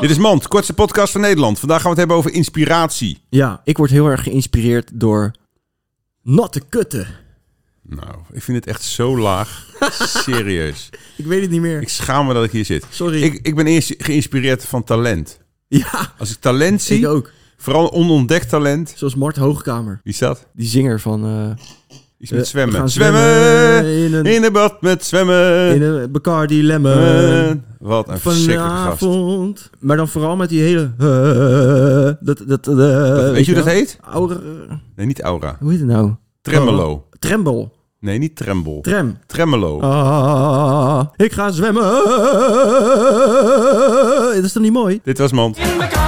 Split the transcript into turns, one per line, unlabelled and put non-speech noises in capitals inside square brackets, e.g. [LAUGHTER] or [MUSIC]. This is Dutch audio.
Dit is Mand, kortste podcast van Nederland. Vandaag gaan we het hebben over inspiratie.
Ja, ik word heel erg geïnspireerd door natte kutten.
Nou, ik vind het echt zo laag. [LAUGHS] Serieus.
Ik weet het niet meer.
Ik schaam me dat ik hier zit.
Sorry.
Ik, ik ben eerst geïnspireerd van talent.
[LAUGHS] ja,
Als ik talent zie,
ik ook.
vooral onontdekt talent.
Zoals Mart Hoogkamer,
Wie is dat?
die zinger van eh,
Iets met
Eh, we
zwemmen.
gaan
Zwemmen!
zwemmen
in,
in
een...
een-
bad met zwemmen.
Eh, in een Bacardi Lemon.
Eh, Wat een verschrikkelijke gast.
Vanavond. Maar dan vooral met die hele... eh, dat, dat, eh,
Weet je hoe dat
wel?
heet?
Oude, eh,
Nee, niet Aura.
hoe heet het nou?
Tremolo.
Trembel.
Nee, niet Tremble.
Trem. Oh.
Tremolo.
Ah, ik ga zwemmen. Dat is toch niet mooi?
Dit was Mand.
In elkaar.